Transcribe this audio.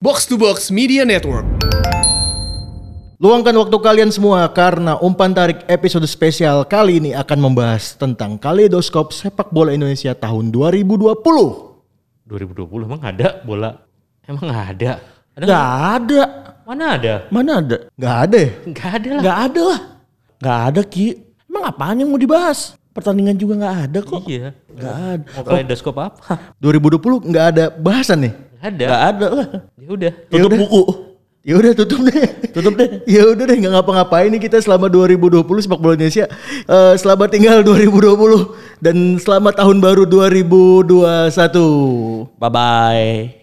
Box to Box Media Network. Luangkan waktu kalian semua karena umpan tarik episode spesial kali ini akan membahas tentang kaleidoskop sepak bola Indonesia tahun 2020. 2020 emang ada bola? Emang ada? Gak Ada nggak? ada. Mana ada? Mana ada? Gak ada ya? Enggak ada lah. Gak ada lah. Gak ada Ki. Emang apaan yang mau dibahas? Pertandingan juga gak ada kok. Iya. Gak ada. Mau kaleidoskop apa? 2020 gak ada bahasan nih? Enggak ada. Enggak ada lah. Ya udah. Tutup buku. Ya udah tutup deh. Tutup deh. ya udah deh nggak ngapa-ngapain nih kita selama 2020 sepak bola Indonesia. Eh, selamat tinggal 2020 dan selamat tahun baru 2021. Bye bye.